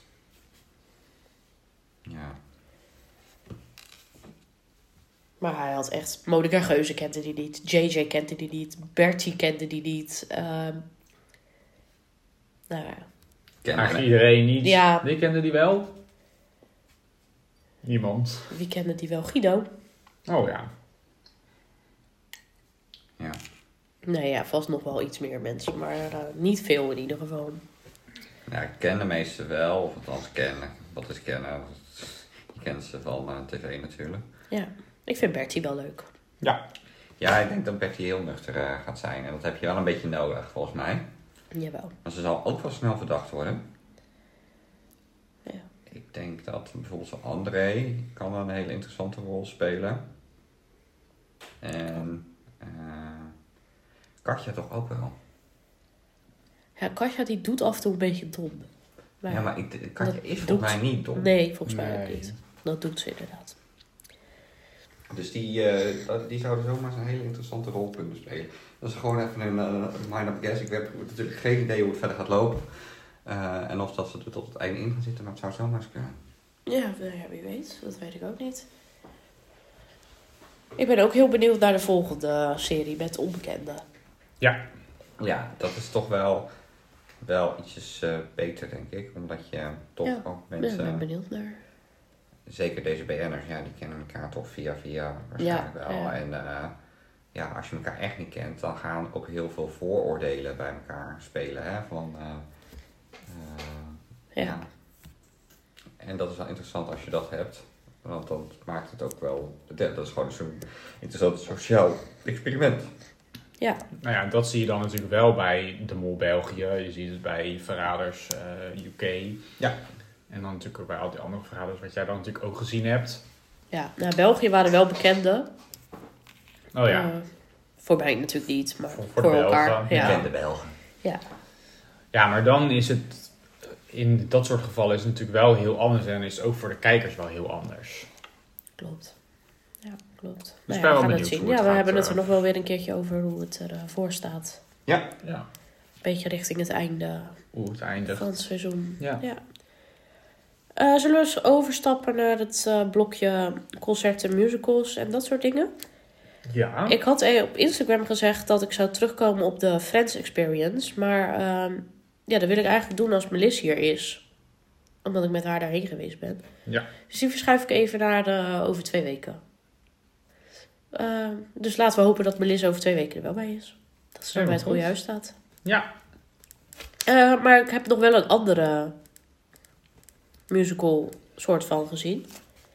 C: Ja.
A: Maar hij had echt... Monica Geuze kende die niet. JJ kende die niet. Bertie kende die niet. Ehm, nou ja.
C: Ken
B: Eigenlijk iedereen niet.
A: Ja.
B: Die kende die wel? Niemand.
A: Wie kende die wel? Guido?
B: Oh ja.
C: ja.
A: Nou ja, vast nog wel iets meer mensen, maar eh, niet veel in ieder geval.
C: ja, ik ken de meeste wel, of althans kennen. Wat is kennen? Je kent ze van eh, tv natuurlijk.
A: Ja, ik vind Bertie wel leuk.
B: Ja.
C: Ja, ik denk dat Becky heel nuchter eh, gaat zijn. En dat heb je wel een beetje nodig, volgens mij.
A: Jawel.
C: Maar ze zal ook wel snel verdacht worden.
A: Ja.
C: Ik denk dat bijvoorbeeld zo'n André kan een hele interessante rol spelen. En eh, Katja toch ook wel.
A: Ja, Katja die doet af en toe een beetje dom. Maar,
C: ja, maar ik, Katja
A: dat
C: is
A: doet-
C: volgens mij niet dom.
A: Nee, volgens mij ook
B: Nee.
A: niet. Dat doet ze inderdaad.
C: Dus die, eh, dat- die zouden zomaar eens een hele interessante rol kunnen spelen. Dat is gewoon even een eh, mind up guess. Ik heb natuurlijk geen idee hoe het verder gaat lopen. Eh, en of dat ze er tot het einde in gaan zitten, maar het zou zomaar eens kunnen.
A: Ja, nou ja, wie weet. Dat weet ik ook niet. Ik ben ook heel benieuwd naar de volgende serie met onbekenden.
B: Ja.
C: Ja, dat is toch wel, wel ietsjes eh, beter, denk ik. Omdat je toch
A: Ja,
C: ook
A: Ja, ik
C: mensen,
A: ben benieuwd naar.
C: zeker deze BN'ers, ja, die kennen elkaar toch via via waarschijnlijk
A: Ja,
C: wel.
A: ja.
C: En eh, ja, als je elkaar echt niet kent, dan gaan ook heel veel vooroordelen bij elkaar spelen. Hè? Van, eh, eh,
A: Ja.
C: En dat is wel interessant als je dat hebt. Want dan maakt het ook wel. Dat dat is gewoon zo'n interessant sociaal experiment.
A: Ja.
B: Nou ja, dat zie je dan natuurlijk wel bij de Mol België. Je ziet het bij Verraders eh, UK.
C: Ja.
B: En dan natuurlijk ook bij al die andere verraders, wat jij dan natuurlijk ook gezien hebt.
A: ja. Nou, België waren wel bekenden.
B: Oh ja.
A: Eh, voor mij natuurlijk niet, maar
B: Voor-
A: voor,
B: voor de
A: elkaar.
B: Belgen.
C: Ik
A: Ja.
C: ken de Belgen.
A: ja.
B: Ja, maar dan is het. In dat soort gevallen is het natuurlijk wel heel anders. En is het ook voor de kijkers wel heel anders.
A: Klopt. Ja, klopt.
B: Dus
A: Nou
B: ik ben
A: ja,
B: wel
A: we gaan
B: benieuwd
A: het zien.
B: hoe het
A: Ja, we
B: gaat,
A: hebben het er
B: eh.
A: nog wel weer een keertje over hoe het ervoor staat.
C: Ja.
B: Ja.
A: Beetje richting het einde
B: Hoe het eindigt.
A: van het seizoen.
B: Ja.
A: Eh, zullen we eens overstappen naar het eh, blokje concerten, musicals en dat soort dingen?
B: Ja.
A: Ik had eh, op Instagram gezegd dat ik zou terugkomen op de Friends Experience. Maar ehm, ja, dat wil ik eigenlijk doen als Melis hier is. Omdat ik met haar daarheen geweest ben.
B: Ja.
A: Dus die verschuif ik even naar de, over twee weken. Ehm, dus laten we hopen dat Melis over twee weken er wel bij is. Dat ze dan
B: Helemaal
A: bij het goede
B: goed.
A: huis staat.
B: Ja.
A: Eh, maar ik heb nog wel een andere musical soort van gezien.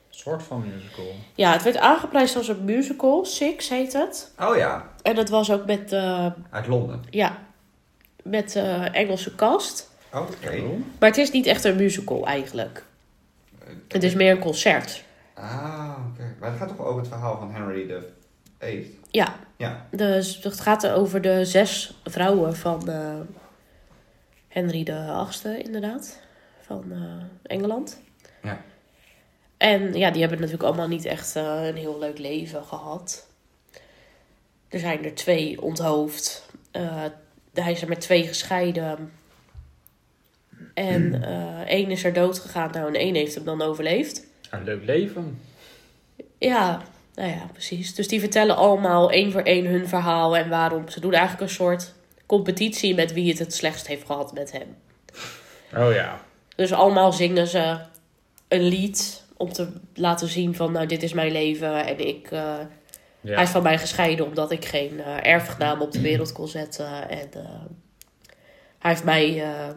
B: soort van musical.
A: Ja, het werd aangeprijsd als een musical. Six heet het.
C: Oh ja,
A: En dat was ook met eh,
C: uit Londen.
A: Ja, met eh, Engelse cast.
C: Oh, Oké.
A: Maar het is niet echt een musical eigenlijk. Het is meer een concert.
C: Ah, oké. Maar het gaat toch over het verhaal van Henry de VIII?
A: Ja,
C: Ja.
A: dus het gaat over de zes vrouwen van eh, Henry de Achtste, inderdaad. Van eh, Engeland.
C: Ja.
A: En ja, die hebben natuurlijk allemaal niet echt eh, een heel leuk leven gehad. Er zijn er twee onthoofd. Eh, hij is er met twee gescheiden. En eh één is er dood gegaan. Nou, en één heeft hem dan overleefd.
B: Een leuk leven.
A: Ja, nou ja, precies. Dus die vertellen allemaal één voor één hun verhaal en waarom. Ze doen eigenlijk een soort competitie met wie het het slechtst heeft gehad met hem.
B: Oh ja.
A: Dus allemaal zingen ze een lied om te laten zien van, nou, dit is mijn leven en ik eh,
B: Ja.
A: Hij is van mij gescheiden omdat ik geen eh, erfgenaam op de wereld kon zetten. En eh, hij, heeft mij, eh,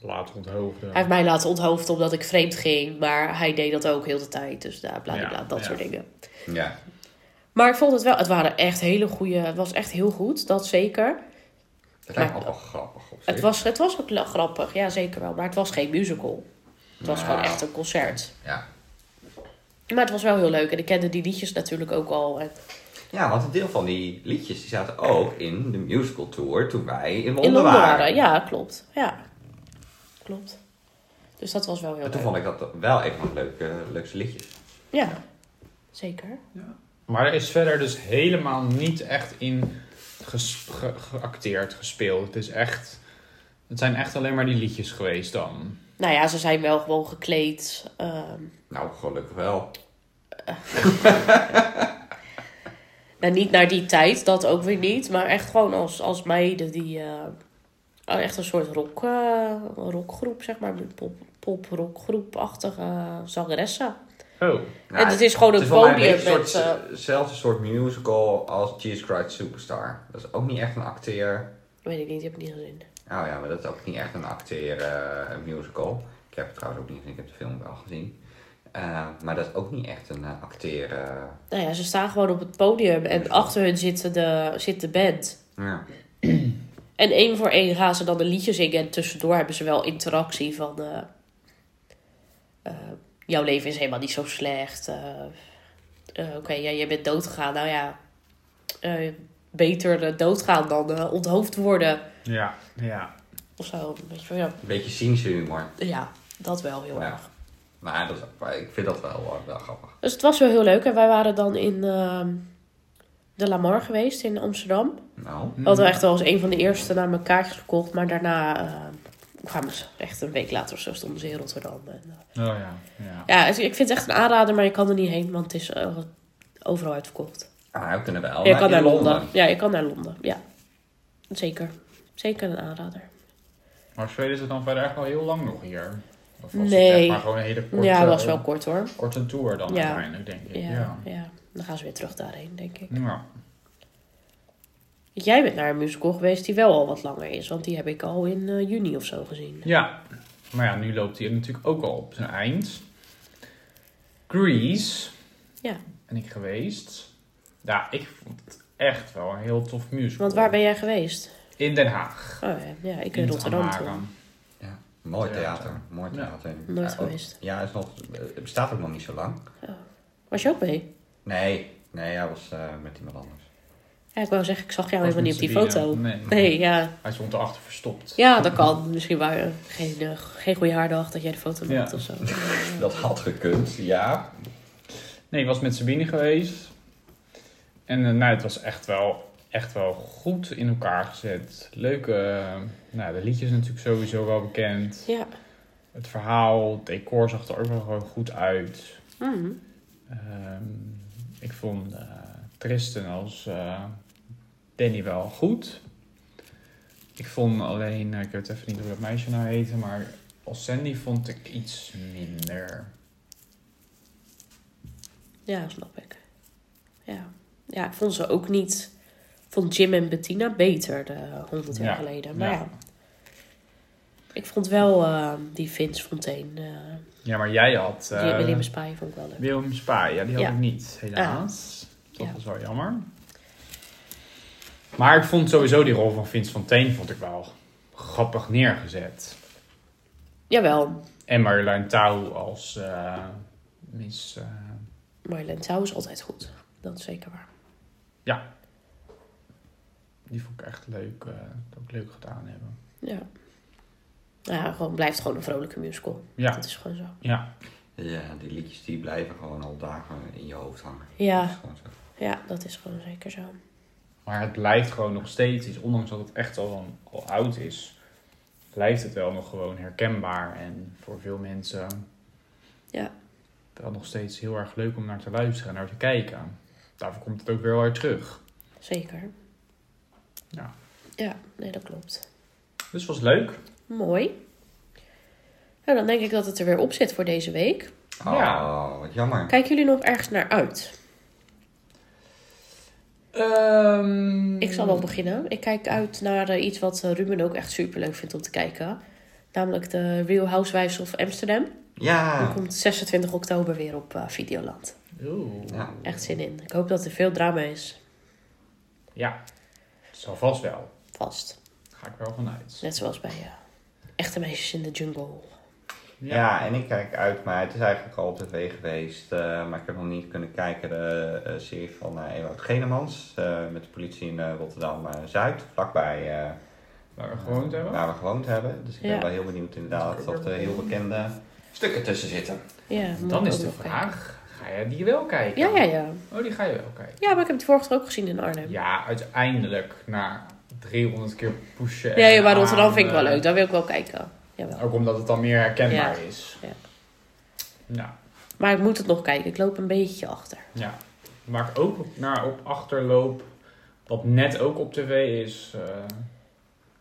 B: Later onthoofden.
A: hij heeft mij laten onthoofden omdat ik vreemd ging. Maar hij deed dat ook heel de tijd. Dus daar bla bla, bla,
B: Ja,
A: dat
B: ja.
A: soort dingen.
C: Ja.
A: Maar ik vond het wel, het waren echt hele goede, het was echt heel goed, dat zeker.
C: Dat lijkt me ook wel grappig. Op zich.
A: Het was, het was ook la- grappig, ja zeker wel. Maar het was geen musical. Het was gewoon echt een concert.
C: Ja.
A: Maar het was wel heel leuk. En ik kende die liedjes natuurlijk ook al. eh, En
C: ja, want een deel van die liedjes die zaten ook in de musical tour toen wij in Londen,
A: in Londen
C: waren.
A: waren. Ja, klopt. Ja, klopt. Dus dat was wel heel
C: En toen
A: leuk.
C: vond ik dat wel een van de leuke, leukste liedjes.
A: Ja, zeker.
B: Maar er is verder dus helemaal niet echt in ges- ge- geacteerd, gespeeld. Het is echt... Het zijn echt alleen maar die liedjes geweest dan.
A: Nou ja, ze zijn wel gewoon gekleed. ehm,
C: Nou, gelukkig wel.
A: nou, niet naar die tijd, dat ook weer niet. Maar echt gewoon als, als meiden die... eh, oh, echt een soort rock, eh, rockgroep, zeg maar. met Pop, pop rockgroep-achtige eh, zangeressen.
B: Oh.
C: Nou,
A: en het is gewoon
C: Het
A: een
C: is voor mij een
A: podium
C: beetje
A: met...
C: een
A: eh,
C: soort, zelfs een soort musical als Jesus Christ Superstar. Dat is ook niet echt een acteer.
A: weet ik niet, ik heb het niet gezien.
C: Nou ja, maar dat is ook niet echt een acteer eh, een musical. Ik heb het trouwens ook niet gezien, ik heb de film wel gezien. Eh, maar dat is ook niet echt een eh, acteer. eh,
A: Nou ja, ze staan gewoon op het podium. En achter hun zit de, zit de band.
C: ja.
A: En één voor één gaan ze dan een liedje zingen. En tussendoor hebben ze wel interactie van... eh, eh, jouw leven is helemaal niet zo slecht. eh, eh, Oké, ja, je bent doodgegaan. Nou ja, eh, beter eh, doodgaan dan eh, onthoofd worden.
B: Ja, ja.
A: Of zo. Weet je, wel, ja.
C: Een beetje cynische humor.
A: ja, dat wel heel
C: Ja.
A: erg.
C: Maar, dat is, ook- maar ik vind dat wel, eh, wel grappig.
A: Dus het was wel heel leuk. En wij waren dan in ehm, de Lamar geweest in Amsterdam.
C: Nou,
A: We hadden echt wel als een van de eerste naar mijn kaartjes gekocht. Maar daarna eh, kwamen ze echt een week later of zo stonden ze in Rotterdam. En, eh,
B: Oh ja, ja.
A: Ja, het- ik vind het echt een aanrader, maar je kan er niet heen, want het is eh, overal uitverkocht.
C: ah, we kunnen wel.
A: Ja, je
C: maar
A: kan
C: in
A: naar Londen. Ja, je kan naar Londen. Ja, zeker. Zeker een aanrader.
B: Maar spelen ze dan verder echt wel heel lang nog hier? Of was het
A: Nee.
B: echt maar gewoon een hele korte,
A: ja, was wel kort hoor.
B: korte tour dan
A: Ja.
B: uiteindelijk, denk ik.
A: eh, Ja,
B: Ja.
A: ja. dan gaan ze weer terug daarheen, denk ik.
B: Ja.
A: Jij bent naar een musical geweest die wel al wat langer is, want die heb ik al in eh, juni of zo gezien.
B: Ja. Maar ja, nu loopt hij natuurlijk ook al op zijn eind. Grease.
A: Ja.
B: En ik geweest. Ja, ik vond het echt wel een heel tof musical.
A: Want waar ben jij geweest?
B: In Den Haag.
A: Oh ja, ja ik in
B: In het
A: Rotterdam
B: Amara.
A: toen.
C: Ja, mooi
B: Theater.
C: theater. Mooi
B: Ja.
C: theater.
A: Nooit
C: Ja, ook-
A: geweest. Oh.
C: Ja, is nog, het bestaat ook nog niet zo lang.
A: Was je ook mee?
C: Nee, nee, hij was eh, met iemand anders.
A: Ja, ik wou zeggen, ik zag jou
B: Was
A: helemaal niet op die eh,
B: met
A: foto.
B: Sabine. Nee.
A: Nee, ja.
B: Hij stond erachter verstopt.
A: Ja, dat kan. Misschien waren geen, eh, geen goede haardag dat jij de foto
B: Ja.
A: maakt
B: [LAUGHS]
A: of zo. Ja.
C: Dat had gekund, ja.
B: Nee, ik was met Sabine geweest. En eh, nou, het was echt wel, echt wel goed in elkaar gezet. Leuke, eh, nou, de liedjes natuurlijk sowieso wel bekend.
A: Ja.
B: Het verhaal, het decor zag er ook wel gewoon goed uit.
A: Mhm.
B: Ehm, ik vond eh, Tristan als eh, Danny wel goed. Ik vond alleen, eh, ik weet even niet hoe dat meisje nou heette, maar als Sandy vond ik iets minder.
A: Ja, snap ik. Ja. ja, ik vond ze ook niet... ik vond Jim en Bettina beter de 100 jaar
B: Ja,
A: geleden. Maar ja.
B: ja.
A: ik vond wel eh, die Vince Fontaine, eh
B: Ja, maar jij had...
A: die
B: eh,
A: William Spy vond ik wel leuk.
B: Willem Spaar, ja, die had
A: Ja. Ah.
B: ik niet, helaas. Dat
A: Ja.
B: was wel jammer. Maar ik vond sowieso die rol van Vince Fontaine vond ik wel grappig neergezet.
A: Jawel,
B: En Marjolein Touw als eh, Miss... eh,
A: Marlene Tau is altijd goed. Dat is zeker waar.
B: die vond ik echt leuk, eh, ook leuk gedaan hebben.
A: Ja. Ja, gewoon blijft gewoon een vrolijke musical.
B: Ja,
A: Dat is gewoon zo.
B: ja.
C: Ja, die liedjes die blijven gewoon al dagen in je hoofd hangen.
A: Ja.
C: Dat is gewoon zo.
A: Ja, dat is gewoon zeker zo.
B: Maar het blijft gewoon nog steeds iets. Ondanks dat het echt al, een- al oud is, blijft het wel nog gewoon herkenbaar. En voor veel mensen
A: Ja.
B: wel nog steeds heel erg leuk om naar te luisteren en naar te kijken. Daarvoor komt het ook weer weer terug.
A: Zeker.
B: Ja.
A: Ja, nee, dat klopt.
B: Dus was leuk.
A: Mooi. Nou, dan denk ik dat het er weer op zit voor deze week.
C: Oh,
B: Ja.
C: wat jammer.
A: Kijken jullie nog ergens naar uit?
B: Ehm,
A: Ik zal wel beginnen. Ik kijk uit naar eh, iets wat eh, Ruben ook echt super leuk vindt om te kijken. Namelijk de Real Housewives of
B: Ah.
A: Amsterdam. Die
C: Ja.
A: komt 26 oktober weer op eh, Videoland.
B: Oeh.
C: ja.
A: Echt zin in. Ik hoop dat er veel drama is.
B: Ja, zal vast wel.
A: Vast.
B: Ga ik wel vanuit.
A: Net zoals bij eh, Echte Meisjes in de Jungle.
C: Ja, en ik kijk uit, maar het is eigenlijk al op tv geweest. eh, maar ik heb nog niet kunnen kijken. De eh, serie van eh Ewout Genemans. eh, met de politie in eh, Rotterdam eh, Zuid. Vlakbij eh,
B: Waar we gewoond hebben.
C: waar we gewoond hebben. Dus ik ben
A: Ja.
C: wel heel benieuwd inderdaad of er heel bekende stukken tussen zitten.
A: Ja, moet
B: Dan
A: ik
B: is
A: ook
B: de
A: nog
B: vraag, ga je die wel kijken?
A: kijken. Ja, ja, ja.
B: Oh, die ga je wel kijken.
A: Ja, maar ik heb het vorige keer ook gezien in Arnhem. Ja,
B: Ja, uiteindelijk na 300 keer pushen.
A: ja,
B: en
A: maar Rotterdam vind ik wel
B: aan, eh, Oh.
A: leuk. Daar wil ik wel kijken. Jawel.
B: Ook omdat het dan meer herkenbaar
A: Ja.
B: is.
A: Ja.
B: Nou,
A: Maar ik moet het nog kijken. Ik loop een beetje achter.
B: ja. Waar ik ook naar op achterloop, wat net ook op tv is, eh,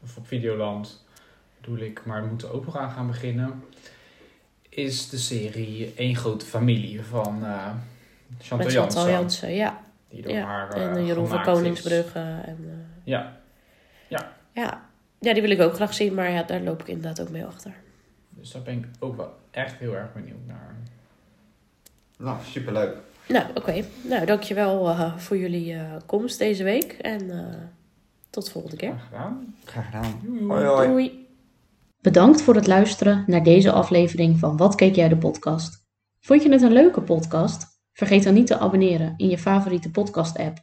B: of op Videoland, bedoel ik, maar we moeten ook nog aan gaan beginnen, is de serie Eén Grote Familie van eh Chantal
A: Met Chantal
B: Jansen.
A: Jansen. Ja.
B: Die door
A: Ja,
B: haar eh,
A: En eh, Jeroen van
B: gemaakt is.
A: Koningsbrugge. En, eh,
B: Ja,
A: Ja. ja, die wil ik ook graag zien, maar ja, daar loop ik inderdaad ook mee achter.
B: dus daar ben ik ook wel echt heel erg benieuwd naar.
C: Nou, superleuk.
A: Nou, oké. Nou, dankjewel eh voor jullie eh, komst deze week. En eh, tot de volgende keer.
B: Graag gedaan.
C: Graag gedaan.
B: Joe, joe.
C: Hoi hoi.
A: Doei!
D: Bedankt voor het luisteren naar deze aflevering van Wat keek jij de podcast? Vond je het een leuke podcast? Vergeet dan niet te abonneren in je favoriete podcast app.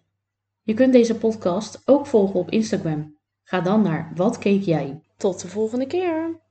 D: Je kunt deze podcast ook volgen op Instagram. Ga dan naar Wat keek jij? Tot de volgende keer.